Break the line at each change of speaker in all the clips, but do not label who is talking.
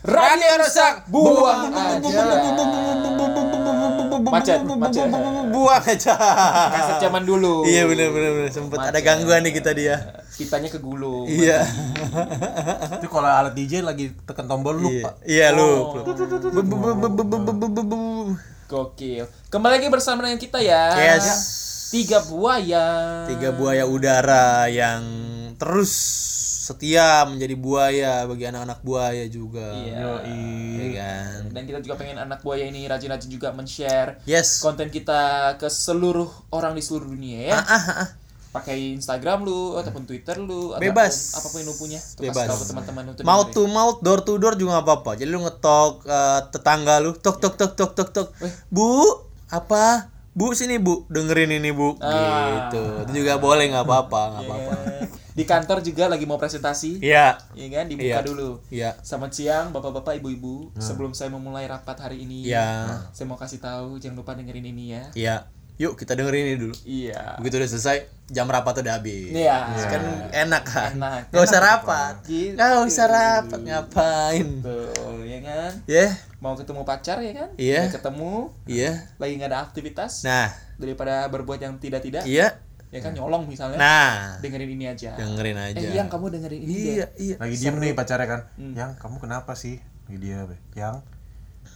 Radio rusak, buang aja. Macet, macet.
buang aja.
Kaset zaman dulu.
Iya benar benar benar sempet ada gangguan nih kita dia.
Kitanya kegulung.
Iya.
Itu kalau alat DJ lagi tekan tombol lupa.
Iya lu.
Gokil. Kembali lagi bersama dengan kita ya.
Yes.
Tiga buaya.
Tiga buaya udara yang terus setia menjadi buaya bagi anak-anak buaya juga.
Iya.
Iya kan.
Dan kita juga pengen anak buaya ini rajin-rajin juga men-share
Yes.
konten kita ke seluruh orang di seluruh dunia ya.
Ah,
Pakai Instagram lu ataupun Twitter lu ataupun
Bebas.
apapun yang lu punya. Tuh,
Bebas.
kasih tahu ke teman-teman lu tuh
Mouth
dengerin.
to mouth, door to door juga gak apa-apa. Jadi lu ngetok eh, tetangga lu, tok tok tok tok tok tok. Bu, apa? Bu sini bu, dengerin ini bu.
Ah.
Gitu. Itu juga boleh nggak apa-apa, nggak apa-apa.
Iya. Di kantor juga lagi mau presentasi.
Iya.
Iya kan dibuka
Iya.
dulu.
Iya.
Selamat siang Bapak-bapak, Ibu-ibu. Sebelum saya memulai rapat hari ini,
Iya.
saya mau kasih tahu jangan lupa dengerin ini ya.
Iya. Yuk kita dengerin ini dulu.
Iya.
Begitu udah selesai, jam rapat udah habis.
Iya.
Kan enak kan?
Enak.
Nggak usah rapat.
Gitu.
Nggak usah rapat, ngapain?
Tuh, ya kan?
Ya,
Mau ketemu pacar ya kan?
Iya.
Udah ketemu,
iya.
lagi nggak ada aktivitas.
Nah,
Daripada berbuat yang tidak-tidak,
iya.
ya kan nyolong misalnya.
Nah,
Dengerin ini aja.
dengerin aja.
Eh, yang kamu dengerin ini
Iya,
deh.
iya.
Lagi diem nih pacarnya kan. Yang kamu kenapa sih? Lagi dia, be. yang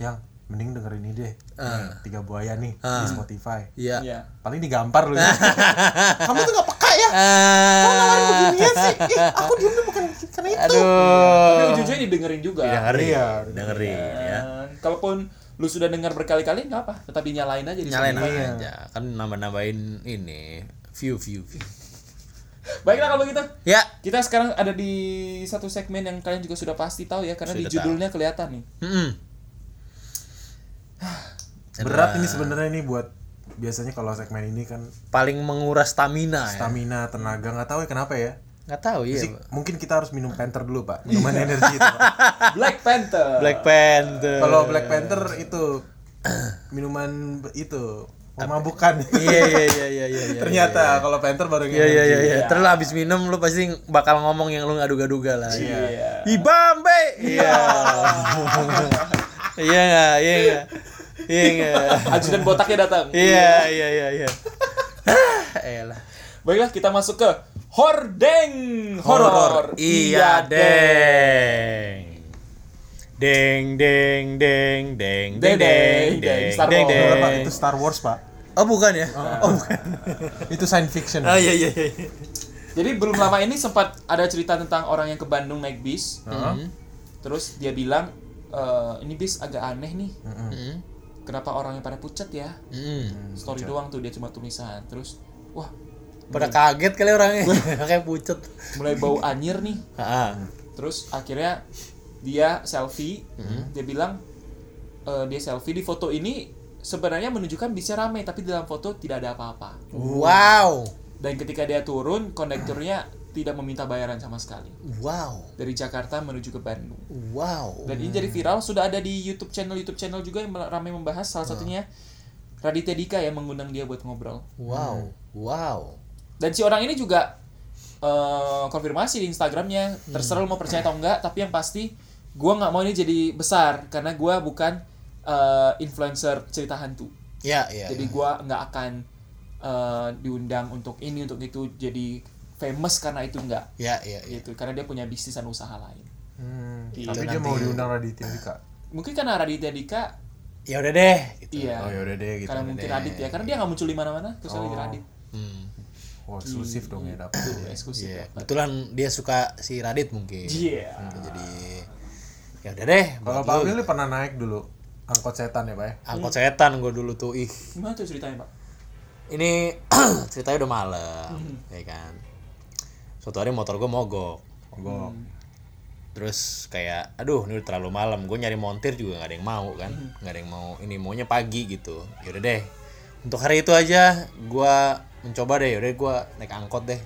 yang mending dengerin ini deh.
Ah.
Nih, Tiga buaya nih di Spotify.
Iya.
Iya.
Paling digampar lu. ya. kamu tuh gak peka ya?
Oh,
Ah.
Beginian sih. Ih, aku diem tuh bukan karena itu.
Tapi
Aduh.
ujung-ujungnya didengerin juga.
Dengerin,
Iya.
dengerin ya.
Dan Kalaupun lu sudah dengar berkali-kali nggak apa, tetap dinyalain aja di
Nyalain
Spotify.
aja. Kan nambah-nambahin ini view view. view.
Baiklah kalau gitu.
Ya.
Kita sekarang ada di satu segmen yang kalian juga sudah pasti tahu ya karena di
Sudah
judulnya kelihatan nih.
Mm-mm.
Berat ini sebenarnya nih buat biasanya kalau segmen ini kan
Paling menguras stamina ya.
stamina, tenaga nggak tahu ya kenapa ya.
Nggak tahu ya.
Sih, mungkin kita harus minum Panther
Iya.
dulu, Pak. Minuman energi itu. Pak.
Black Panther.
Black Panther.
Kalau Black Panther
iya.
itu minuman itu pemabukan.
iya iya iya iya iya. iya.
Ternyata kalau Panther baru
Iya iya iya.
energi.
iya. Terus habis minum lu pasti bakal ngomong yang lu nggak duga-duga lah.
Iya.
Ibambe. Iya. Iya nggak? Iya nggak? Iya nggak?
Ajudan botaknya datang.
Iya iya iya iya. Ah, Elah.
Baiklah kita masuk ke hordeng horor.
Iya deng. Deng deng deng deng
Deng,
deng
deng, deng.
deng deng
Star
deng
Wars.
Bener, Pak.
deng.
Itu Star Wars, Pak.
Oh bukan ya? Oh bukan.
Itu science fiction.
Oh iya iya iya.
Jadi belum lama ini sempat ada cerita tentang orang yang ke Bandung naik bis. Terus dia bilang "Eh, ini bis agak aneh nih. Kenapa orangnya pada pucat ya?
Mm.
Story doang tuh dia cuma tulisan. Terus wah
Pada kaget kali orangnya. Kayak pucet.
mulai bau anyir nih.
Heeh.
Terus akhirnya dia selfie, dia bilang eh, dia selfie di foto ini sebenarnya menunjukkan bisa rame tapi dalam foto tidak ada apa-apa.
Wow.
Dan ketika dia turun, kondekturnya tidak meminta bayaran sama sekali
Wow.
dari Jakarta menuju ke Bandung.
Wow.
Dan ini jadi viral sudah ada di YouTube channel YouTube channel juga yang mel- ramai membahas
Ya.
salah satunya Raditya Dika yang mengundang dia buat ngobrol.
Wow. Wow.
Dan si orang ini juga eh, konfirmasi di Instagramnya.
Hmm.
Terserah lu mau percaya atau enggak, tapi yang pasti gua nggak mau ini jadi besar karena gua bukan eh, influencer cerita hantu.
Ya, ya.
Jadi gua nggak akan eh, diundang untuk ini untuk itu jadi famous karena itu enggak
Ya, ya, ya.
gitu karena dia punya bisnis dan usaha lain.
Hmm,
Gitu.
Iya,
tapi dia mau diundang Raditya Dika.
Mungkin karena Raditya Dika
Ya udah deh. Gitu.
iya.
Oh ya udah deh gitu.
karena mungkin Radit ya karena dia nggak muncul di mana-mana terus Radit Radit
Hmm.
Oh, eksklusif dong ya dapet.
Tuh, eksklusif
Iya.
dapat.
Kebetulan dia suka si Radit mungkin.
Iya.
Gitu, Jadi ya udah deh.
Kalau
buat
Pak
lu.
Will ini pernah naik dulu angkot setan ya, Pak ya?
angkot setan gue dulu tuh ih.
Gimana tuh ceritanya, Pak? Hmm.
Ini ceritanya udah malam, ya kan. suatu hari motor gue mogok Hmm.
Mogok.
terus kayak aduh ini udah terlalu malam gue nyari montir juga nggak ada yang mau kan
Hmm.
nggak ada yang mau ini maunya pagi gitu yaudah deh untuk hari itu aja gue mencoba deh yaudah gue naik angkot deh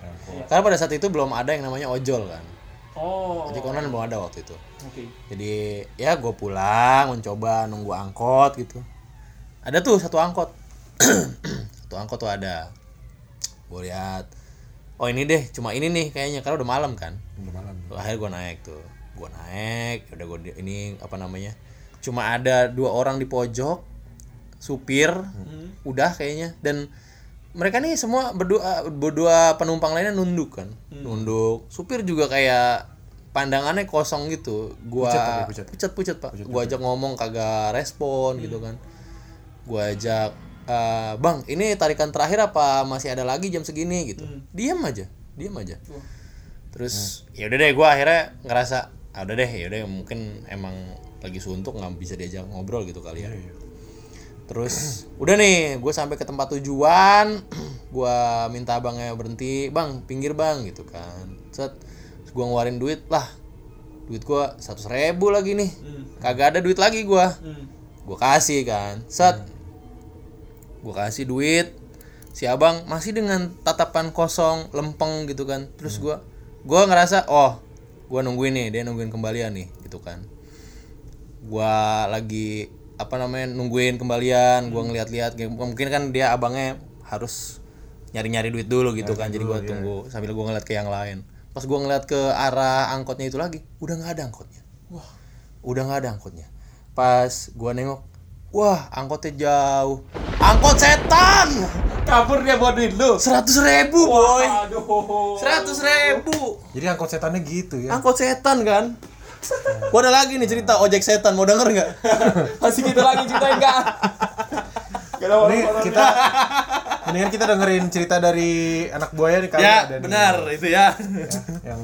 karena pada saat itu belum ada yang namanya ojol kan
Oh,
ojek online belum ada waktu itu
oke.
jadi ya gue pulang mencoba nunggu angkot gitu ada tuh satu angkot satu angkot tuh ada gue lihat oh ini deh cuma ini nih kayaknya karena udah malam kan
Udah malam.
akhir gue naik tuh gue naik ya udah gue ini apa namanya cuma ada dua orang di pojok supir
Hmm.
udah kayaknya dan mereka nih semua berdua berdua penumpang lainnya nunduk kan
Hmm.
nunduk supir juga kayak pandangannya kosong gitu gua
Pucet tapi, pucet. Hmm.
pucet pucet, pak gua ajak ngomong kagak respon gitu kan gua ajak "Eh, bang ini tarikan terakhir apa masih ada lagi jam segini gitu
Hmm.
diam aja diam aja terus ya udah deh gua akhirnya ngerasa "Ah, udah deh ya udah mungkin emang lagi suntuk nggak bisa diajak ngobrol gitu kali ya terus udah nih gue sampai ke tempat tujuan gua minta abangnya berhenti bang pinggir bang gitu kan set Terus gua ngeluarin duit lah duit gua seratus ribu lagi nih
Hmm,
kagak ada duit lagi gua gua kasih kan set gua kasih duit si abang masih dengan tatapan kosong lempeng gitu kan terus gua gua ngerasa oh gua nungguin nih dia nungguin kembalian nih gitu kan gua lagi apa namanya nungguin kembalian gua ngeliat-liat kayak- mungkin kan dia abangnya harus nyari-nyari duit dulu gitu kan jadi gua tunggu sambil gua ngeliat ke yang lain pas gua ngeliat ke arah angkotnya itu lagi udah nggak ada angkotnya wah udah nggak ada angkotnya pas gua nengok wah angkotnya jauh angkot setan
Kabur dia bawa duit lu.
seratus ribu boy
Aduh.
seratus ribu
Jadi angkot setannya gitu ya.
angkot setan kan gua ada lagi nih cerita ojek setan mau denger nggak
Masih kita lagi ceritain enggak? Gak ada
Ini kita mendingan kita dengerin cerita dari anak buaya nih kali
ya
ada nih,
benar itu ya
yang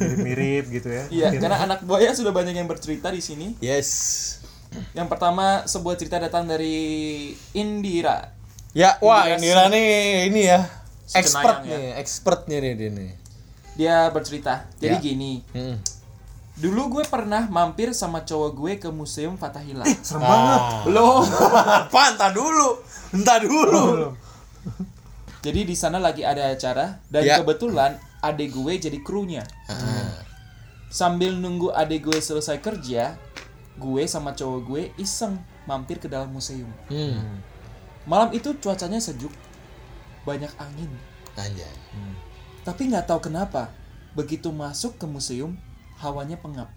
mirip-mirip gitu ya.
Iya, karena anak buaya sudah banyak yang bercerita di sini.
yes
Yang pertama sebuah cerita datang dari Indira.
ya wah Indira nih ini ya
Si
expert
Cenayang
nih expertnya nih dia nih
Dia bercerita. Jadi
Ya.
gini,
Mm.
dulu gue pernah mampir sama cowok gue ke Museum Fatahillah.
Serem banget.
Loh.
apa entah dulu entah dulu
Jadi di sana lagi ada acara dan
Ya.
kebetulan adik gue jadi krunya.
Ah.
Sambil nunggu adik gue selesai kerja, gue sama cowok gue iseng mampir ke dalam museum.
hmm.
Malam itu cuacanya sejuk, banyak angin.
anjay
Tapi nggak tahu kenapa, begitu masuk ke museum, hawanya pengap,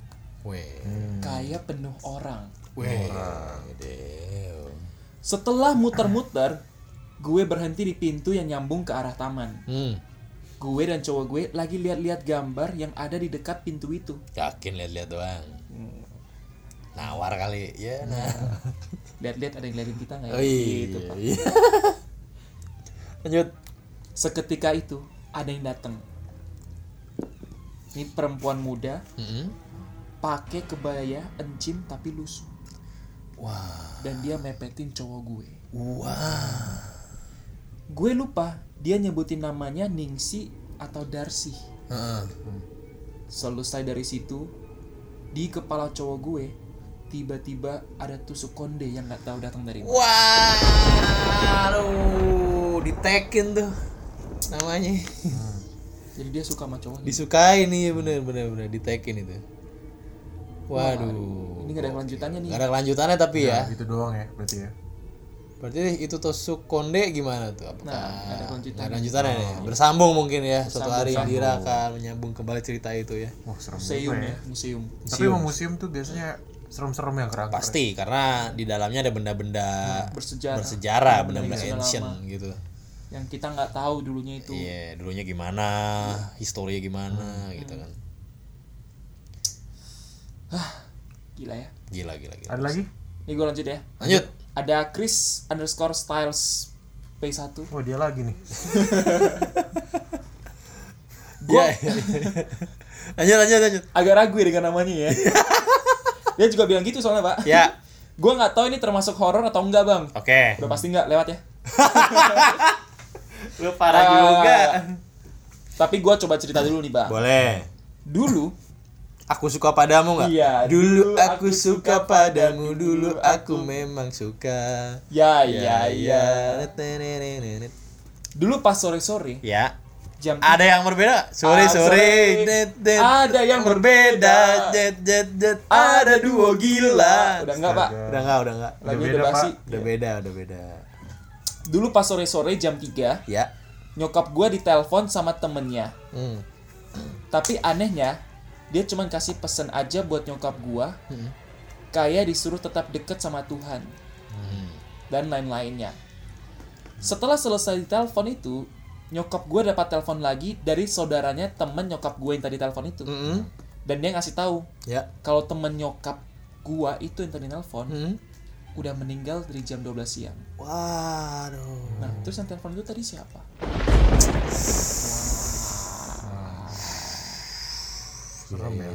Hmm. weh
kayak penuh orang.
weh Deo.
Setelah muter-muter, gue berhenti di pintu yang nyambung ke arah taman.
hmm.
Gue dan cowok gue lagi lihat-lihat gambar yang ada di dekat pintu itu.
yakin lihat-lihat doang Hmm. nawar kali ya nah
Lihat-lihat ada yang liatin kita nggak ya?
oh iya
Gitu, Pak.
iya. lanjut
Seketika itu ada yang datang. Ini perempuan muda
Mm-mm.
pakai kebaya encim tapi lusuh
wah
dan dia mepetin cowok gue.
wah
Gue lupa dia nyebutin namanya Ningsi atau Darsi.
Heeh.
Selesai dari situ, di kepala cowok gue tiba-tiba ada tusuk konde yang nggak tahu datang dari mana.
Wah, aduh, ditekin tuh namanya.
Jadi dia suka sama cowok.
Disukai nih bener bener bener ditekin itu. Waduh.
Ini nggak ada kelanjutannya nih. Nah,
Gak ada kelanjutannya tapi ya.
Gitu doang ya berarti ya.
Berarti itu tusuk konde gimana tuh? Apakah
Nah, nggak ada
nggak
kelanjutannya.
ada kelanjutannya nih? Ah. Bersambung mungkin ya. Suatu
Bersambung,
hari Indira akan menyambung kembali cerita itu ya.
Wah, serem
Museum
juga
ya,
ya.
museum.
Tapi emang museum tuh biasanya serem-serem yang kerangka.
Pasti karena di dalamnya ada benda-benda
Bersejarah.
Nah, bersejarah,
Benda-benda
benda-benda
yang sudah
ancient gitu.
Yang kita nggak tahu dulunya itu.
Iya, dulunya gimana, historinya gimana gitu kan.
Gila ya.
Gila gila gila.
Ada lagi?
Ini gue lanjut ya.
Lanjut.
Ada Chris underscore Styles P1.
Oh, dia lagi nih.
Gua Iya. lanjut lanjut lanjut.
Agak ragu ya dengan namanya ya. dia juga bilang gitu soalnya pak.
Ya.
gue nggak tahu ini termasuk horor atau enggak bang.
Oke.
Udah pasti nggak lewat ya.
Lu
Ah, Tapi gua coba cerita dulu nih, Bang.
Ah. Boleh.
Dulu
Aku suka padamu nggak?
Iya,
Dulu aku suka padamu, dulu aku memang suka.
ya
Iya,
ya ya.
Tenenenenet.
Dulu pas sore-sore
Ya.
jam
Ada yang berbeda? Sorry,
Ah,
sorry.
sorry.
Net, net.
Ada yang berbeda.
Jet, jet, jet. Ada duo gila.
Udah enggak, Pak?
Udah enggak, udah Ya. enggak.
Lagi
beda,
udah basi.
Udah beda, udah beda.
Dulu pas sore-sore jam 3,
Ya.
nyokap gua ditelepon sama temennya.
Hmm.
Tapi anehnya, dia cuman kasih pesan aja buat nyokap gua.
Hmm.
Kayak disuruh tetap deket sama Tuhan.
Hmm.
Dan lain-lainnya. Setelah selesai telepon itu, nyokap gua dapat telepon lagi dari saudaranya temen nyokap gua yang tadi telepon itu.
Hmm.
Mm-mm.
Dan dia ngasih tahu
Hmm. Ya.
kalau temen nyokap gua itu yang tadi telepon
Hmm.
udah meninggal dari jam 12 siang.
Waduh.
Nah,
Hmm.
terus yang telepon itu tadi siapa?
Serem ya.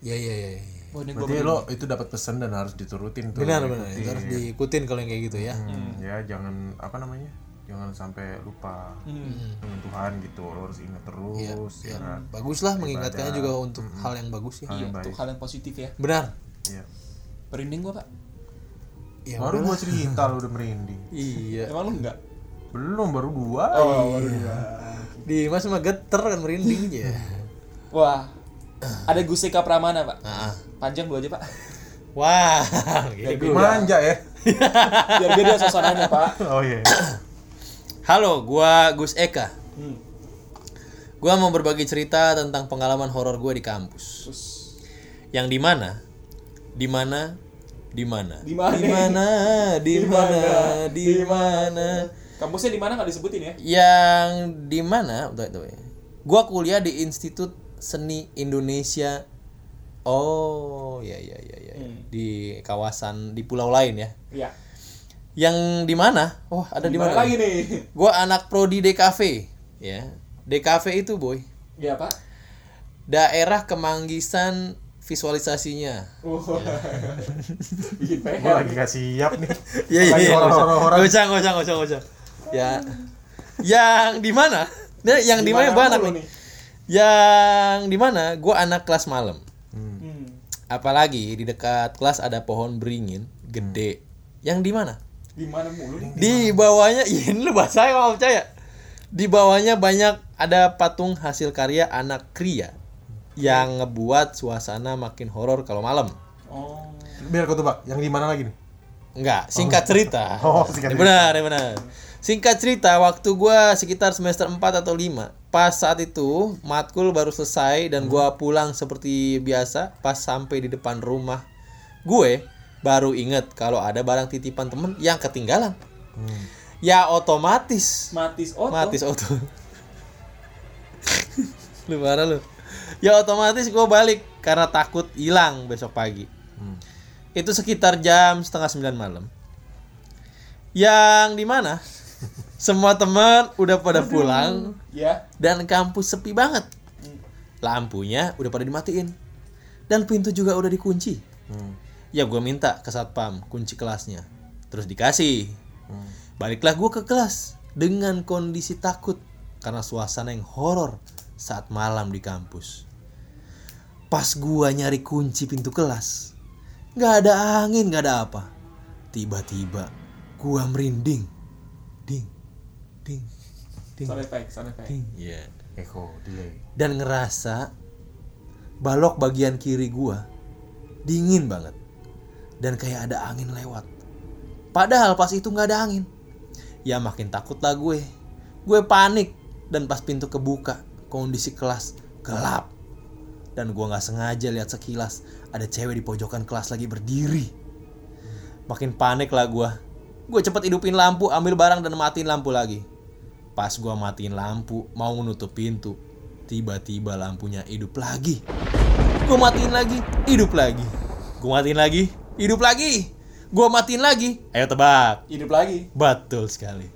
Ya, ya, ya. ya.
Wah, ini gua
Berarti lo itu dapat pesan dan harus diturutin tuh.
Benar,
Iya.
benar. Itu harus diikutin kalau yang kayak gitu ya.
Hmm, ya jangan apa namanya? Jangan sampai lupa
Hmm.
Hmm.
dengan Tuhan gitu. Lo harus ingat
Iya, Oh,
terus ya. kan?
Baguslah mengingatkannya juga untuk hal yang bagus ya.
Hal yang
untuk
baik.
Iya, hal yang positif ya.
Benar.
Iya.
Merinding gua, Pak.
Ya,
baru
udahlah.
gua cerita lo udah merinding. Ya.
Iya.
Emang lu enggak?
Belum baru dua.
Di Mas mah geter kan merinding aja.
Wah. Ada Guseka Pramana, Pak.
Heeh.
Panjang dulu aja, Pak.
Wah, gitu. gini gua.
Manja ya.
Biar beda suasananya, Pak.
Oh iya.
Halo, gua Gus Eka.
Hmm,
Gua mau berbagi cerita tentang pengalaman horor gua di kampus. Yang di mana? Di mana? Di mana? Di
mana?
mana? Di mana? Di mana?
Kampusnya di mana nggak disebutin ya?
Yang di mana? Bentar, bentar, bentar. Gua kuliah di Institut Seni Indonesia. Oh, ya ya ya ya. ya. Di kawasan di pulau lain ya.
Iya.
Yang di mana? Wah, ada di mana?
Lagi nih.
Gua anak prodi DKV, ya. DKV itu, boy.
Iya, Pak.
Daerah kemanggisan visualisasinya.
Wah. Oh. Bikin PR.
Gua lagi gak siap nih.
Iya,
Lagi horor-horor.
Gak usah, gak usah, gak usah, gak usah. Ya. Yang di mana? Nah, yang di mana
Dimana
gua
dulu
anak nih. Yang di mana? Gua anak kelas malam.
Hmm.
Apalagi di dekat kelas ada pohon beringin gede. Yang di mana?
Di mana mulu nih?
Di bawahnya, iya ini lu bahasa saya nggak percaya. Di bawahnya banyak ada patung hasil karya anak kria
Hmm.
yang ngebuat suasana makin horor kalau malam.
Oh.
Biar gua tebak. Yang di mana lagi nih?
Enggak, singkat cerita.
Oh,
Ya
singkat
benar, ya benar. Singkat cerita, waktu gua sekitar semester 4 atau 5. Pas saat itu, matkul baru selesai dan
Hmm.
gua pulang seperti biasa. Pas sampai di depan rumah gue, baru inget kalau ada barang titipan temen yang ketinggalan.
Hmm.
Ya otomatis
Matis Oto.
Matis auto. lu marah lu. Ya otomatis gue balik karena takut hilang besok pagi. Itu sekitar jam setengah sembilan malam. Yang di mana? Semua teman udah pada pulang
Ya.
dan kampus sepi banget. Lampunya udah pada dimatiin dan pintu juga udah dikunci. Ya gue minta ke satpam kunci kelasnya, terus dikasih. Baliklah gue ke kelas dengan kondisi takut karena suasana yang horor saat malam di kampus. Pas gua nyari kunci pintu kelas, nggak ada angin, nggak ada apa. Tiba-tiba gua merinding, ding, ding, ding.
Sound effect, sound effect.
Iya.
Eko delay.
Dan ngerasa balok bagian kiri gua dingin banget dan kayak ada angin lewat. Padahal pas itu nggak ada angin. Ya makin takutlah gue. Gue panik dan pas pintu kebuka kondisi kelas gelap. Dan gua nggak sengaja lihat sekilas ada cewek di pojokan kelas lagi berdiri. Makin panik lah gua. Gue cepet hidupin lampu, ambil barang dan matiin lampu lagi. Pas gua matiin lampu, mau menutup pintu. Tiba-tiba lampunya hidup lagi. Gue matiin lagi, hidup lagi. Gue matiin lagi, hidup lagi. Gue matiin lagi. Ayo tebak.
Hidup lagi.
Betul sekali.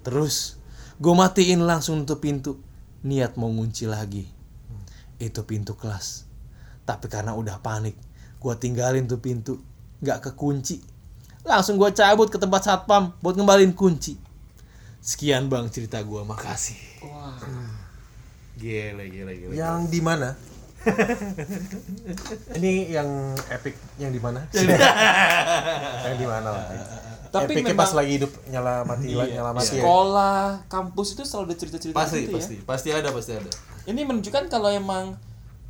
Terus gue matiin langsung tuh pintu. Niat mau ngunci lagi. Itu pintu kelas. Tapi karena udah panik, gue tinggalin tuh pintu. Gak kekunci. Langsung gue cabut ke tempat satpam buat ngembalin kunci. Sekian bang cerita gue, makasih.
Wah.
Gila, gila, gila.
Yang di mana? ini yang epic yang di mana? yang di mana lah.
Tapi memang-
Epicnya
Iya.
pas lagi hidup nyala mati nyala mati ya.
sekolah kampus itu selalu ada cerita-cerita
Pasti,
gitu
pasti. Pasti ada, pasti ada.
ya ini menunjukkan kalau emang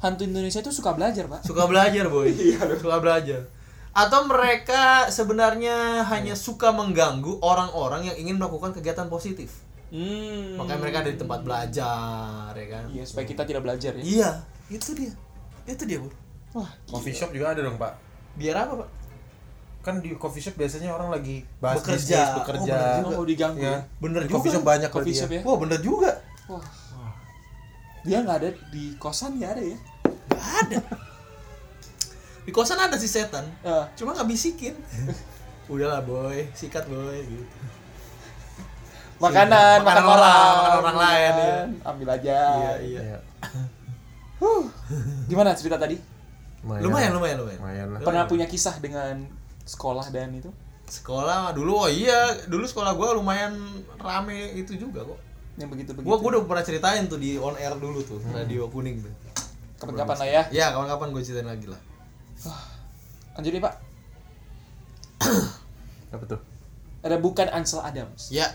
hantu Indonesia itu suka belajar pak
Suka belajar, boy.
Iya,
suka belajar. Atau mereka sebenarnya
Iya.
hanya suka mengganggu orang-orang yang ingin melakukan kegiatan positif.
hmm.
Makanya mereka ada di tempat belajar, ya kan?
iya supaya kita tidak belajar ya
Iya, itu dia. Itu dia, Bu.
wah
Coffee shop juga ada dong, Pak.
Biar apa, Pak?
Kan di coffee shop biasanya orang lagi bahas
Bekerja.
bisnis, bekerja.
Oh, bener
nggak mau diganggu
ya.
ya.
Bener
Di coffee
juga.
shop banyak
coffee shop
berarti ya.
ya
Wah, bener juga.
wah dia nggak ada di kosan nggak ada ya
Gak ada. Di kosan ada si setan.
Eh,
Cuma nggak bisikin. Udahlah, boy. Sikat, boy. Gitu.
makanan,
Makanan
makan
orang,
orang,
makan orang lain,
kan?
iya.
ambil aja.
Iya, iya.
Iya.
Huh. Gimana cerita tadi?
Lumayan, lumayan, lumayan.
Lumayan lah.
Pernah punya kisah dengan sekolah dan itu?
Sekolah dulu, oh iya, dulu sekolah gua lumayan rame itu juga kok.
Yang begitu-begitu.
Gua, gua udah pernah ceritain tuh di on air dulu tuh, radio kuning tuh.
Kapan-kapan lah ya.
Ya, kapan-kapan gua ceritain lagi lah.
Lanjut nih, Pak.
Apa tuh?
Ada bukan Ansel Adams.
Ya,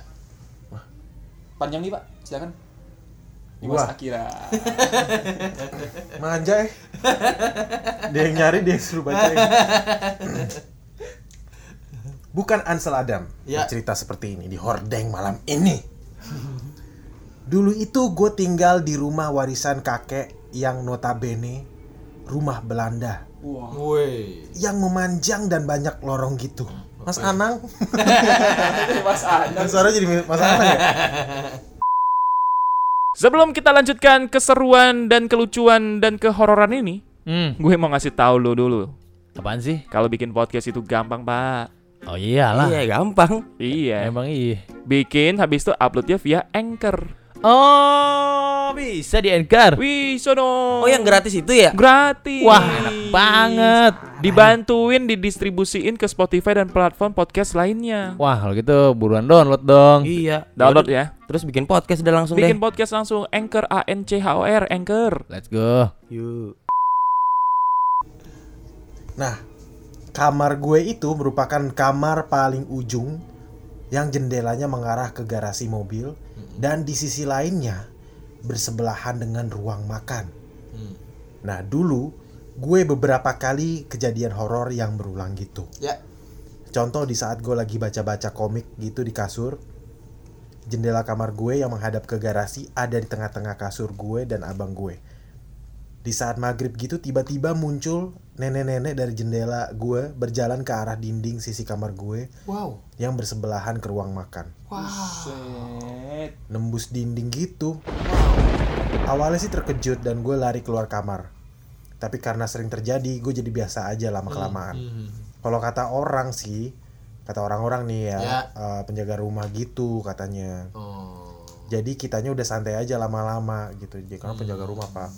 Panjang nih, Pak. Silakan. Dimas
Wah,
Akira.
manja eh. dia yang nyari, dia yang suruh eh? bacain. Bukan Ansel Adam
Ya.
cerita seperti ini di Hordeng malam ini. Dulu itu gue tinggal di rumah warisan kakek yang notabene rumah Belanda
Wah.
woi.
yang memanjang dan banyak lorong gitu. Mas Anang,
Mas Adams.
suara jadi mirip Mas Anang ya?
Sebelum kita lanjutkan keseruan dan kelucuan dan kehororan ini,
Hmm,
gue mau ngasih tahu lo dulu.
apaan sih?
Kalau bikin podcast itu gampang, Pak.
Oh iyalah.
Iya kan? gampang.
Iya.
Emang iya.
Bikin habis itu uploadnya via Anchor.
Oh, bisa di anchor.
Wih, sono.
Oh yang gratis itu ya?
gratis.
Wah, enak banget.
Dibantuin didistribusiin ke Spotify dan platform podcast lainnya.
Wah, kalau gitu buruan download dong.
Iya.
Download ya.
Terus bikin podcast udah langsung
Bikin
deh.
podcast langsung Anchor A N C H O R Anchor.
Let's go.
Yuk.
Nah, kamar gue itu merupakan kamar paling ujung yang jendelanya mengarah ke garasi mobil dan di sisi lainnya bersebelahan dengan ruang makan.
Hmm.
Nah, dulu gue beberapa kali kejadian horor yang berulang gitu.
Ya,
Contoh di saat gue lagi baca-baca komik gitu di kasur, jendela kamar gue yang menghadap ke garasi ada di tengah-tengah kasur gue dan abang gue. Di saat maghrib gitu tiba-tiba muncul nenek-nenek dari jendela gue berjalan ke arah dinding sisi kamar gue
wow.
yang bersebelahan ke ruang makan.
Buset.
Nembus dinding gitu. Awalnya sih terkejut dan gue lari keluar kamar. Tapi karena sering terjadi, gue jadi biasa aja lama-kelamaan.
Hmm.
Kalau kata orang sih, kata orang-orang nih ya,
Ya.
eh, penjaga rumah gitu katanya.
Oh.
Jadi kitanya udah santai aja lama-lama gitu. Jadi karena penjaga rumah pak.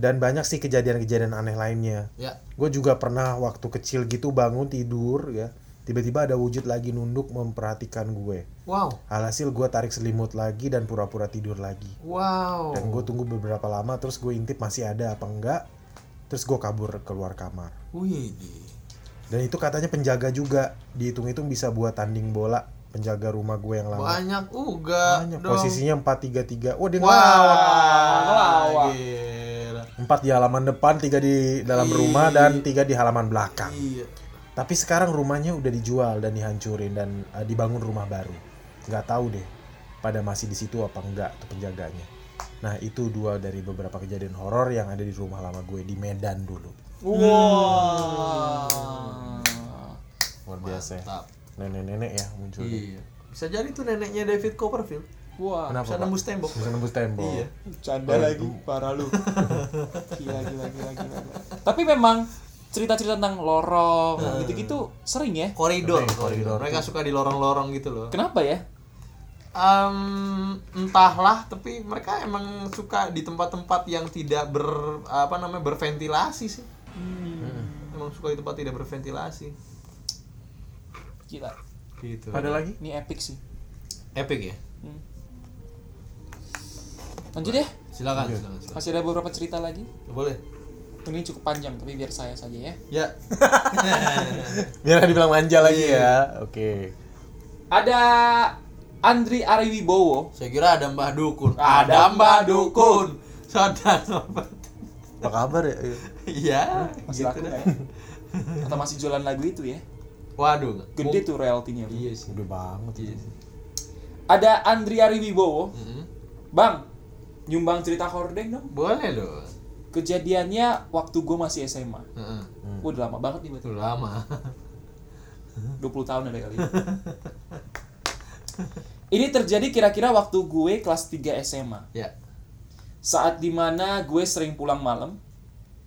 Dan banyak sih kejadian-kejadian aneh lainnya.
Ya.
Gue juga pernah waktu kecil gitu bangun tidur ya, tiba-tiba ada wujud lagi nunduk memperhatikan gue.
Wow.
Alhasil gue tarik selimut lagi dan pura-pura tidur lagi.
Wow.
Dan gue tunggu beberapa lama, terus gue intip masih ada apa enggak. Terus gue kabur keluar kamar.
Wih.
Dan itu katanya penjaga juga. Dihitung-hitung bisa buat tanding bola penjaga rumah gue yang lama.
Banyak juga.
Banyak.
dong.
Posisinya 4-3-3. Wah, Oh, dia
Wah,
ngelawak.
ngelawak.
Gila.
4 di halaman depan, 3 di dalam
Ih.
rumah, dan 3 di halaman belakang.
Iya.
Tapi sekarang rumahnya udah dijual dan dihancurin dan eh, dibangun rumah baru. Nggak tahu deh, pada masih di situ apa enggak tuh penjaganya. Nah itu dua dari beberapa kejadian horor yang ada di rumah lama gue di Medan dulu.
Wah.
Luar biasa ya.
Mantap.
Nenek-nenek ya muncul.
Iya. Bisa jadi tuh neneknya David Copperfield.
Wah.
Kenapa
Bisa
Pak?
nembus tembok.
Bisa nembus tembok.
Iya.
Canda lagi, parah lu. Gila, gila, gila, gila. Tapi memang cerita-cerita tentang lorong gitu-gitu sering ya.
Koridor,
Tapi koridor.
koridor. Mereka suka di lorong-lorong gitu loh.
Kenapa ya?
Em, entahlah, tapi mereka emang suka di tempat-tempat yang tidak ber apa namanya berventilasi sih. Emang suka di tempat tidak berventilasi.
Gila.
Gitu.
Ada lagi?
Ini epic sih.
Epic ya.
Hmm. Lanjut ya.
Silakan, silakan, silakan.
Masih ada beberapa cerita lagi.
Boleh.
Ini cukup panjang tapi biar saya saja ya.
Ya.
Biar dibilang manja lagi
Iya.
ya. Oke.
Ada Andri Ariwibowo.
Saya kira ada Mbah Dukun.
Ada
Ada Mbah Dukun. Saudara sobat.
Apa kabar ya? Iya.
Iya.
Masih laku nggak ya? Atau masih jualan lagu itu ya?
Waduh. nggak.
Gede tuh royaltinya. Bro.
Iya sih.
Gede banget.
Iya sih.
Ada Andri Ariwibowo.
Mm-mm.
Bang, nyumbang cerita hordeng dong.
Boleh dong.
Kejadiannya waktu gue masih SMA.
Heeh.
Wah, udah lama banget
Nah.
nih berarti.
Itu lama.
20 tahun ada kali. Ini terjadi kira-kira waktu gue kelas 3 SMA.
ya.
Saat dimana gue sering pulang malam,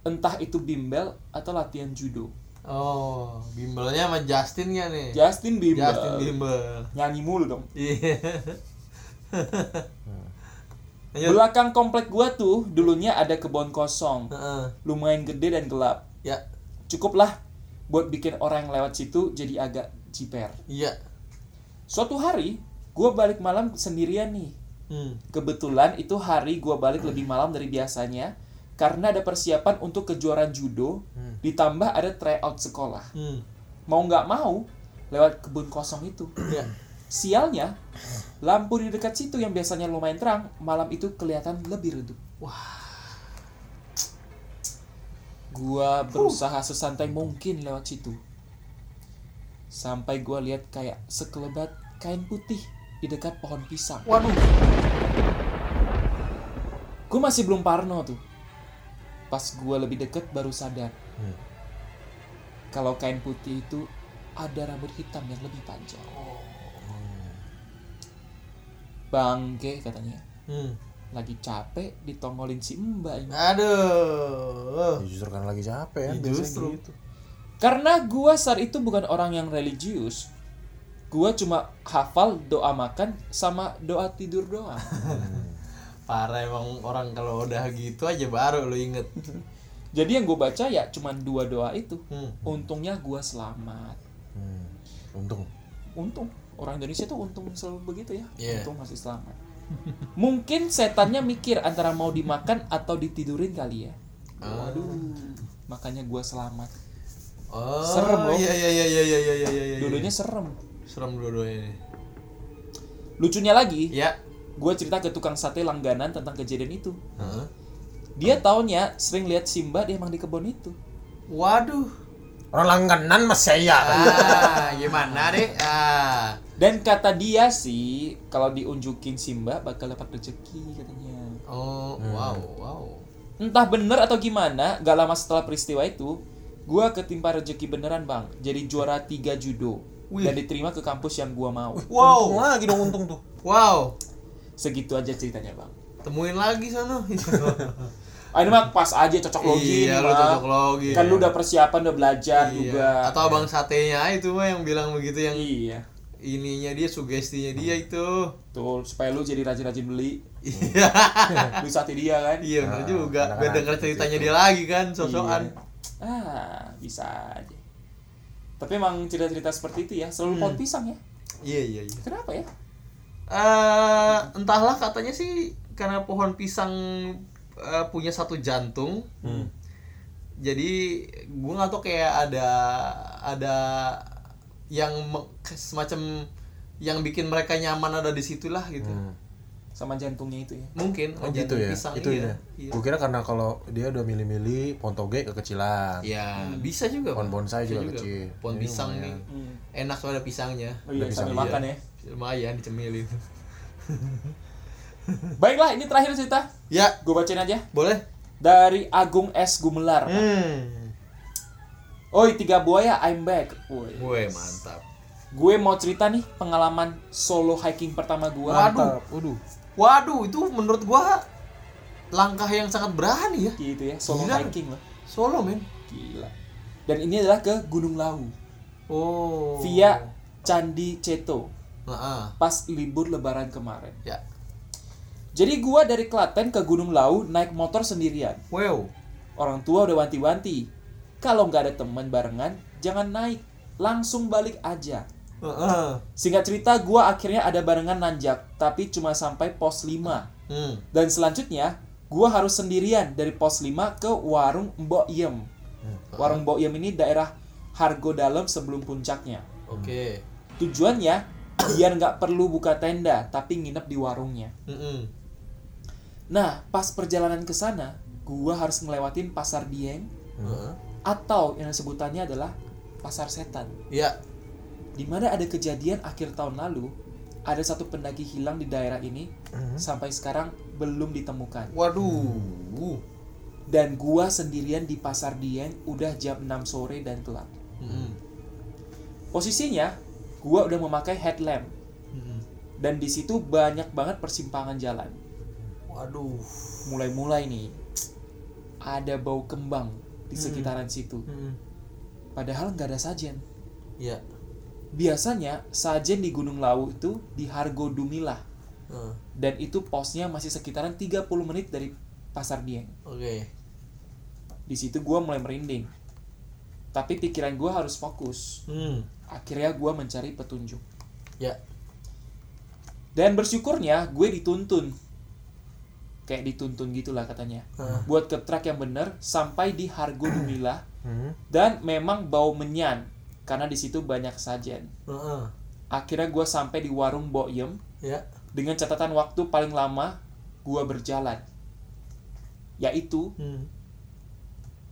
entah itu bimbel atau latihan judo.
Oh, bimbelnya sama Justin nggak nih?
Justin bimbel.
Justin bimbel.
Nyanyi mulu dong.
Iya. Lanjut.
Belakang komplek gue tuh dulunya ada kebun kosong.
Heeh.
Lumayan gede dan gelap.
Ya.
Cukuplah buat bikin orang yang lewat situ jadi agak ciper.
Iya.
Suatu hari, gue balik malam sendirian nih.
Hmm.
Kebetulan itu hari gua balik lebih malam dari biasanya karena ada persiapan untuk kejuaraan judo, ditambah ada tryout sekolah.
Hmm.
Mau nggak mau lewat kebun kosong itu.
Ya.
Sialnya, lampu di dekat situ yang biasanya lumayan terang, malam itu kelihatan lebih redup. Wah. Gua berusaha sesantai mungkin lewat situ. Sampai gua lihat kayak sekelebat kain putih di dekat pohon pisang.
Waduh.
Gue masih belum parno tuh. Pas gue lebih deket baru sadar.
Hmm.
Kalau kain putih itu ada rambut hitam yang lebih panjang.
Oh.
Bangke katanya.
Hmm.
Lagi capek ditongolin si mbak ini.
Aduh.
Ya, justru kan lagi capek ya.
Ya,
biasanya
justru.
gitu.
Karena gua saat itu bukan orang yang religius. Gua cuma hafal doa makan sama doa tidur doang.
Parah emang orang kalau udah gitu aja baru lu inget.
Jadi yang gue baca ya cuman dua doa itu.
Hmm.
Untungnya gua selamat.
Hmm. Untung.
untung orang Indonesia tuh untung selalu begitu ya
Iya.
untung masih selamat mungkin setannya mikir antara mau dimakan atau ditidurin kali ya
Ah.
waduh makanya gua selamat
Oh.
Serem, Bro.
Iya iya iya iya iya iya iya. iya, iya.
dulunya serem
serem dua-duanya ini.
lucunya lagi
Ya.
gua cerita ke tukang sate langganan tentang kejadian itu
Heeh.
dia taunya sering lihat Simba dia emang di kebun itu
Waduh.
Orang langganan mas saya.
Ah, gimana deh? Ah.
dan kata dia sih kalau diunjukin Simba bakal dapat rezeki katanya
Oh, wow, wow.
entah bener atau gimana gak lama setelah peristiwa itu gua ketimpa rezeki beneran bang jadi juara 3 judo dan diterima ke kampus yang gua mau
Wow.
Untung lagi dong untung tuh.
Wow.
segitu aja ceritanya bang
Temuin lagi sana.
ah, ini mah pas aja cocok logi
iya,
ini,
lu
Bang.
cocok logi.
kan lu udah persiapan udah belajar
Iya.
juga
Atau abang satenya itu mah yang bilang begitu yang
iya
ininya dia sugestinya dia itu.
tuh supaya lu jadi rajin-rajin beli
Iya.
lu sate dia kan
Iya bener juga. Gue denger ceritanya dia lagi kan, sosokan.
Iya. ah bisa aja tapi emang cerita-cerita seperti itu ya selalu pohon pisang ya
Iya iya iya.
kenapa ya
Eh, entahlah katanya sih karena pohon pisang eh, punya satu jantung.
Hmm.
Jadi gue nggak tahu kayak ada ada yang me- semacam yang bikin mereka nyaman ada di situlah gitu.
sama jantungnya itu ya
Mungkin
Hmm. Oh
jantung
gitu ya.
pisang
itu
iya.
ya.
Iya.
Gue kira karena kalau dia udah milih-milih pohon toge kekecilan.
Ya, bisa juga.
Pohon
Pak.
bonsai
Bisa
juga kecil.
Pohon
Jadi
pisang nih.
lumayan.
Hmm.
Enak soalnya ada pisangnya.
Oh iya,
Bisa
sambil
Iya.
makan ya.
Lumayan dicemilin.
Baiklah, ini terakhir cerita.
ya,
Gue bacain aja.
boleh.
Dari Agung S. Gumelar.
Hmm.
Oi, tiga buaya, I'm back. Woi.
Gue mantap.
Gue mau cerita nih pengalaman solo hiking pertama gue.
Waduh.
Waduh.
Waduh, itu menurut gua langkah yang sangat berani ya.
Gitu ya, solo
Gila.
hiking loh.
Solo, men.
Gila. Dan ini adalah ke Gunung Lawu.
Oh.
Via Candi Ceto.
Heeh.
Pas libur lebaran kemarin.
Ya.
Jadi gue dari Klaten ke Gunung Lawu naik motor sendirian.
Wow.
Orang tua udah wanti-wanti. Kalau nggak ada teman barengan, jangan naik. Langsung balik aja.
Heeh.
Singkat cerita, gua akhirnya ada barengan nanjak, tapi cuma sampai pos 5.
Hmm.
Dan selanjutnya, gua harus sendirian dari pos 5 ke warung Mbok Iem. Warung Mbok Iem ini daerah Hargo Dalam sebelum puncaknya.
Oke.
Tujuannya biar nggak perlu buka tenda, tapi nginep di warungnya.
Mm-mm.
Nah, pas perjalanan ke sana, gua harus ngelewatin pasar Dieng
Heeh.
atau yang sebutannya adalah pasar setan.
Ya.
di mana ada kejadian akhir tahun lalu ada satu pendaki hilang di daerah ini sampai sekarang belum ditemukan
Waduh.
dan gua sendirian di pasar Dieng udah jam 6 sore dan gelap
Mm-mm.
posisinya gua udah memakai headlamp
Mm-mm.
dan di situ banyak banget persimpangan jalan
Waduh.
mulai-mulai nih ada bau kembang di sekitaran situ
Mm-mm.
padahal nggak ada sajen
Hmm. Ya.
biasanya sajen di Gunung Lawu itu di Hargo Dumilah
Heeh.
dan itu posnya masih sekitaran 30 menit dari pasar Dieng.
Oke.
Di situ gua mulai merinding. Tapi pikiran gua harus fokus.
Hmm.
Akhirnya gua mencari petunjuk.
Ya.
Dan bersyukurnya gue dituntun. Kayak dituntun gitulah katanya.
Hah.
Buat ke track yang bener sampai di Hargo Dumilah
Hmm.
dan memang bau menyan karena di situ banyak sajen.
Heeh.
Akhirnya gua sampai di warung Boyem
Ya.
dengan catatan waktu paling lama gua berjalan yaitu
Hmm.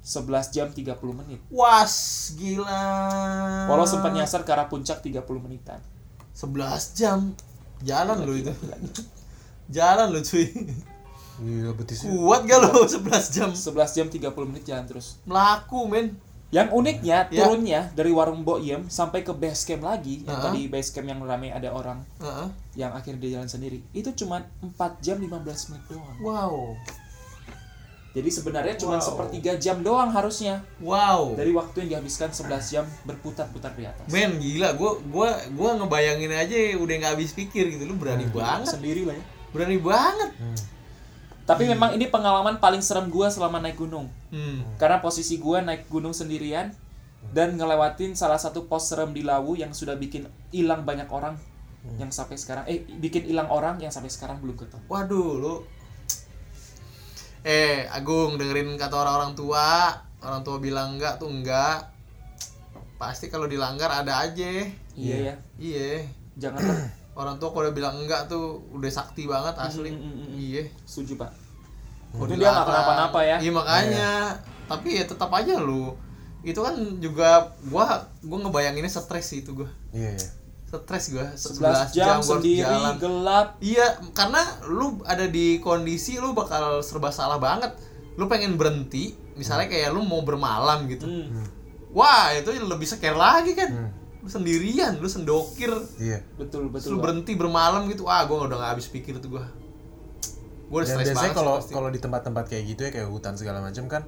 11 jam 30 menit.
Was gila. Ah.
Walau sempat nyasar ke arah puncak 30 menitan.
11 jam. Jalan lu itu. Jalan lu cuy.
Gila betis. ya.
Kuat gak lu 11 jam?
11 jam 30 menit jalan terus.
Melaku men.
Yang uniknya
Ya.
turunnya dari warung Mbok Yem sampai ke base camp lagi, yang
Ha-ha.
tadi base camp yang rame ada orang
Heeh.
yang akhirnya dia jalan sendiri. Itu cuma 4 jam 15 menit doang.
Wow.
Jadi sebenarnya cuma sepertiga jam doang harusnya
Wow.
dari waktu yang dihabiskan 11 jam berputar-putar di atas.
Men gila, gua gua gua ngebayangin aja udah nggak habis pikir gitu. Lu berani banget.
Sendiri lah ya.
Berani banget.
Hmm.
Tapi memang ini pengalaman paling serem gua selama naik gunung.
Hmm.
Karena posisi gua naik gunung sendirian dan ngelewatin salah satu pos serem di Lawu yang sudah bikin hilang banyak orang
Hmm.
yang sampai sekarang eh bikin hilang orang yang sampai sekarang belum ketemu.
Waduh, lu Eh, Agung dengerin kata orang-orang tua. Orang tua bilang enggak tuh enggak. Pasti kalau dilanggar ada aja.
Iya ya.
Iya.
Jangan
Orang tua kalau bilang enggak tuh udah sakti banget asli.
Mm, mm, mm, mm.
Iya.
setuju, Pak.
Kalau
Itu dia nggak
dilarang.
kenapa-napa ya.
Iya makanya. Tapi ya tetap aja lu. Itu kan juga gua gua ngebayanginnya stres sih itu gua.
Iya, iya.
Stres gua
11 jam,
gua harus
sendiri
jalan.
gelap.
Iya, karena lu ada di kondisi lu bakal serba salah banget. Lu pengen berhenti, misalnya
Mm.
kayak lu mau bermalam gitu.
Hmm.
Wah, itu lebih scare lagi kan. Lu sendirian, lu sendokir,
Iya.
Betul,
terus
betul.
lu
Pak.
berhenti bermalam gitu. Ah, gua udah gak habis pikir tuh gua. Gua udah
Dan
stres
biasanya
banget
kalau
sih pasti.
kalau di tempat-tempat kayak gitu ya kayak hutan segala macam kan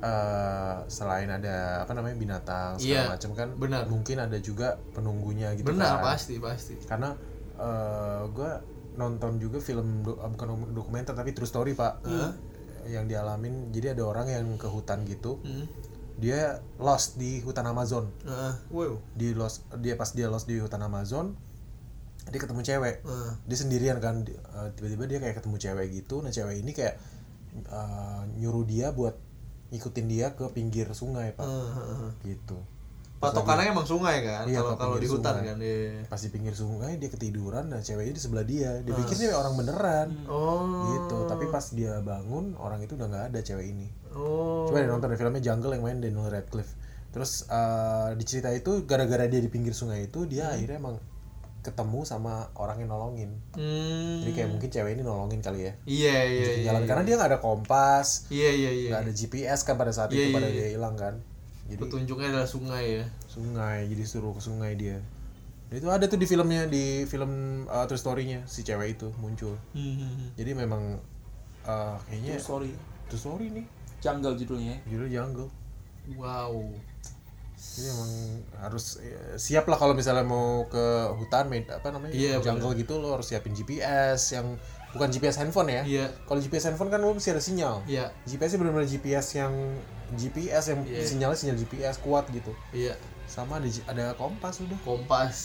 eh selain ada apa namanya binatang segala
Iya,
macam kan
benar.
mungkin ada juga penunggunya gitu
Benar,
kan.
pasti, pasti.
Karena eh gue nonton juga film do- eh, bukan dokumenter tapi true story, Pak. Eh, Yang dialamin jadi ada orang yang ke hutan gitu.
Hmm.
Dia lost di hutan Amazon.
Heeh. wow.
Di lost dia pas dia lost di hutan Amazon dia ketemu cewek
Heeh.
dia sendirian kan di- eh, tiba-tiba dia kayak ketemu cewek gitu nah cewek ini kayak eh, nyuruh dia buat ngikutin dia ke pinggir sungai pak
Hmm.
gitu Pas
Patokannya emang sungai kan,
Iya,
kalau
ke
kalau di
pinggir
hutan
sungai.
kan. Iya.
pas di pinggir sungai dia ketiduran nah ceweknya di sebelah dia dia pikir dia orang beneran
Oh.
gitu tapi pas dia bangun orang itu udah nggak ada cewek ini
Oh.
coba deh nonton deh, filmnya Jungle yang main Daniel Radcliffe terus eh, di cerita itu gara-gara dia di pinggir sungai itu dia akhirnya emang ketemu sama orang yang nolongin
Hmm.
jadi kayak mungkin cewek ini nolongin kali ya
Iya, iya,
Jadi
iya.
jalan karena dia nggak ada kompas
Iya iya iya.
nggak ada GPS kan pada saat
Iya,
itu
iya,
pada
iya.
dia hilang kan jadi
Petunjuknya adalah sungai ya.
sungai jadi suruh ke sungai dia Dan itu ada tuh di filmnya di film uh, true story-nya si cewek itu muncul jadi memang uh, kayaknya
True story.
true story nih
Jungle judulnya. ya.
judul jungle
Wow.
jadi emang harus eh, siap lah kalau misalnya mau ke hutan med- apa namanya
Iya,
jungle gitu lo harus siapin GPS yang bukan GPS handphone ya
Iya.
kalau GPS handphone kan lo mesti ada sinyal
Iya.
GPS benar-benar GPS yang GPS yang
Iya.
sinyalnya sinyal GPS kuat gitu
Iya.
sama ada ada kompas udah
Kompas.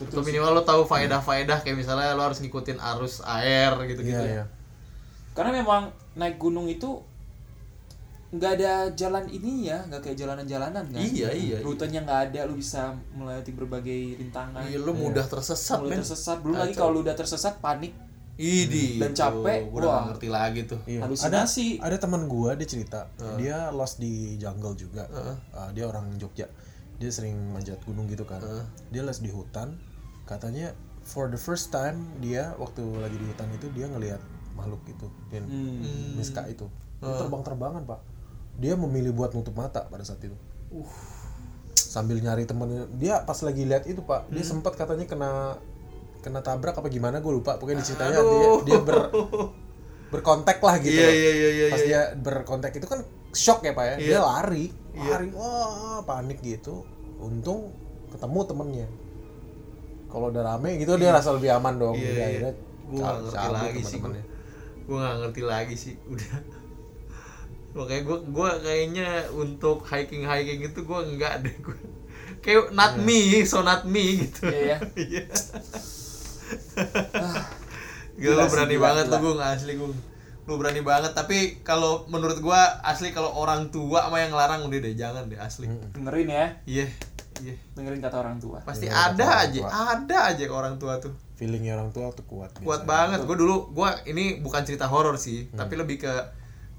Atau minimal lo tahu faedah-faedah kayak misalnya lo harus ngikutin arus air gitu-gitu.
Iya,
ya.
iya.
Karena memang naik gunung itu nggak ada jalan ini ya, nggak kayak jalanan-jalanan kan?
Iya, iya, iya.
Rutenya nggak ada, lu bisa melewati berbagai rintangan.
Iya, lo mudah tersesat,
mulai
men.
tersesat, belum lagi
Kacau.
kalau lu udah tersesat panik,
Idi.
Dan capek,
Gua udah
wah.
nggak ngerti lagi tuh.
Iya.
Halusinasi.
Ada, ada teman gua dia cerita, dia lost di jungle juga. Uh, dia orang Jogja. Dia sering manjat gunung gitu kan. Dia lost di hutan. Katanya for the first time dia waktu lagi di hutan itu dia ngelihat makhluk itu dan
Hmm.
miska itu. Dia terbang-terbangan, Pak. Dia memilih buat nutup mata pada saat itu. Sambil nyari temennya. Dia pas lagi lihat itu, Pak, dia
Hmm.
sempat katanya kena kena tabrak apa gimana gue lupa pokoknya diceritanya dia dia ber berkontak lah gitu
Iya,
loh.
iya, iya, iya,
pas dia berkontak itu kan shock ya pak ya dia lari
Iya.
lari wah panik gitu untung ketemu temennya kalau udah rame gitu dia rasa lebih aman dong
Iya,
Dia
iya.
akhirnya
Gua nggak
cabut
ngerti lagi sih gua.
teman-temannya.
Gua nggak ngerti lagi sih, udah. Makanya gua gua kayaknya untuk hiking-hiking itu gua enggak deh gua. Kayak not me, so not me gitu.
Iya, ya.
Iya.
Gila
Gila, lu
sih,
berani
gila,
banget
gila.
lu Gung, asli Gung. Lu berani banget, tapi kalau menurut gua asli kalau orang tua sama yang larang udah deh, jangan deh asli. Iya,
dengerin ya,
iya.
dengerin kata orang tua.
Pasti
Iya,
ada
orang
aja,
tua. Iya,
ada aja ke orang tua tuh.
feelingnya orang tua tuh kuat
Kuat
biasanya.
banget. Gue dulu gua ini bukan cerita horor sih,
Hmm.
tapi lebih ke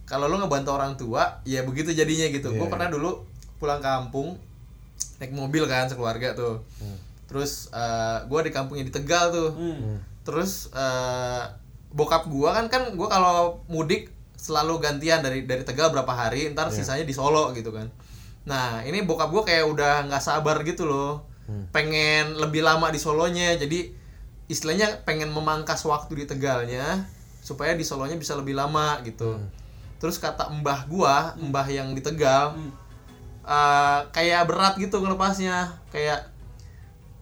kalau lu ngebantu orang tua, ya begitu jadinya gitu. Gue
Iya.
pernah dulu pulang kampung naik mobil kan sekeluarga tuh.
Hmm.
Terus eh, gua di kampungnya di Tegal tuh.
Hmm.
terus eh, bokap gua kan kan gua kalau mudik selalu gantian dari dari Tegal berapa hari ntar sisanya di Solo gitu kan nah ini bokap gua kayak udah nggak sabar gitu loh pengen lebih lama di Solonya jadi istilahnya pengen memangkas waktu di Tegalnya supaya di Solonya bisa lebih lama gitu terus kata mbah gua mbah yang di Tegal eh, kayak berat gitu ngelepasnya kayak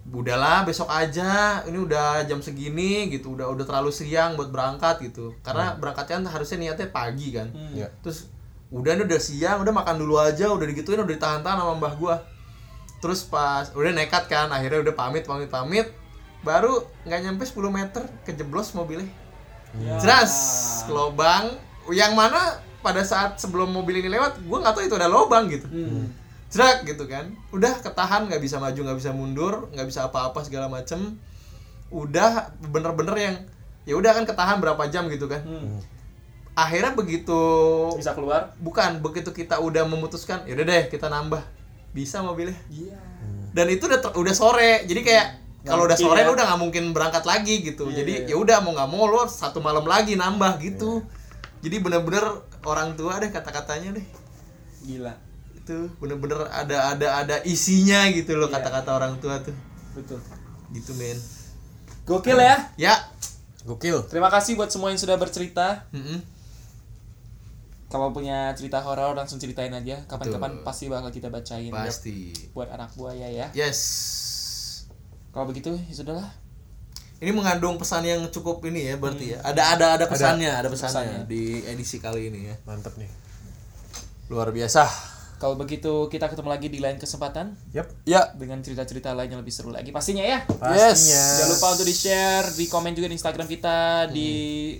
udahlah besok aja ini udah jam segini gitu udah udah terlalu siang buat berangkat gitu karena berangkatnya kan harusnya niatnya pagi kan
Iya.
terus udah ini udah siang udah makan dulu aja udah digituin udah ditahan-tahan sama mbah gua terus pas udah nekat kan akhirnya udah pamit pamit pamit baru nggak nyampe 10 meter kejeblos mobilnya
Ya.
jelas lobang yang mana pada saat sebelum mobil ini lewat gua nggak tahu itu ada lobang gitu
Hmm.
jerak gitu kan udah ketahan nggak bisa maju nggak bisa mundur nggak bisa apa-apa segala macem udah bener-bener yang ya udah kan ketahan berapa jam gitu kan
Hmm.
akhirnya begitu
Bisa keluar?
bukan begitu kita udah memutuskan yaudah deh kita nambah bisa mobilnya
Iya.
dan itu udah ter- udah sore jadi kayak kalau udah
mungkin
sore
ya.
lu udah nggak mungkin berangkat lagi gitu
Iya,
jadi
iya,
ya udah mau nggak mau lu harus satu malam lagi nambah gitu jadi bener-bener orang tua deh kata-katanya deh
Gila.
itu bener-bener ada ada ada isinya gitu loh
Iya.
kata-kata orang tua tuh
Betul.
gitu men
Gokil ya.
ya
gokil
Terima kasih buat semua yang sudah bercerita.
Mm-mm.
Kalau punya cerita horor langsung ceritain aja. Kapan-kapan pasti bakal kita bacain
pasti
buat anak buaya ya.
yes
Kalau begitu ya sudahlah.
ini mengandung pesan yang cukup ini ya berarti ya ada ada ada pesannya ada,
Hmm. pesannya.
pesannya, di edisi kali ini ya
mantep nih
luar biasa
Kalau begitu kita ketemu lagi di lain kesempatan
yep
ya
dengan cerita-cerita lain yang lebih seru lagi pastinya ya.
pastinya
Jangan lupa untuk di-share, di komen juga di Instagram kita, di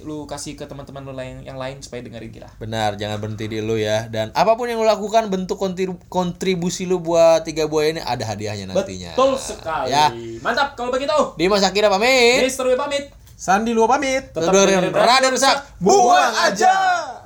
lu kasih ke teman-teman lu lain yang lain supaya dengerin kita.
Benar, jangan berhenti di lu ya. Dan apapun yang lu lakukan, bentuk kontri- kontribusi lu buat tiga buaya ini ada hadiahnya nantinya.
Betul sekali.
Ya.
Mantap kalau begitu.
Dimas Akira pamit.
Mister Wi pamit.
Sandi lu pamit
Tetap dengerin Radio Rusak. Buang aja.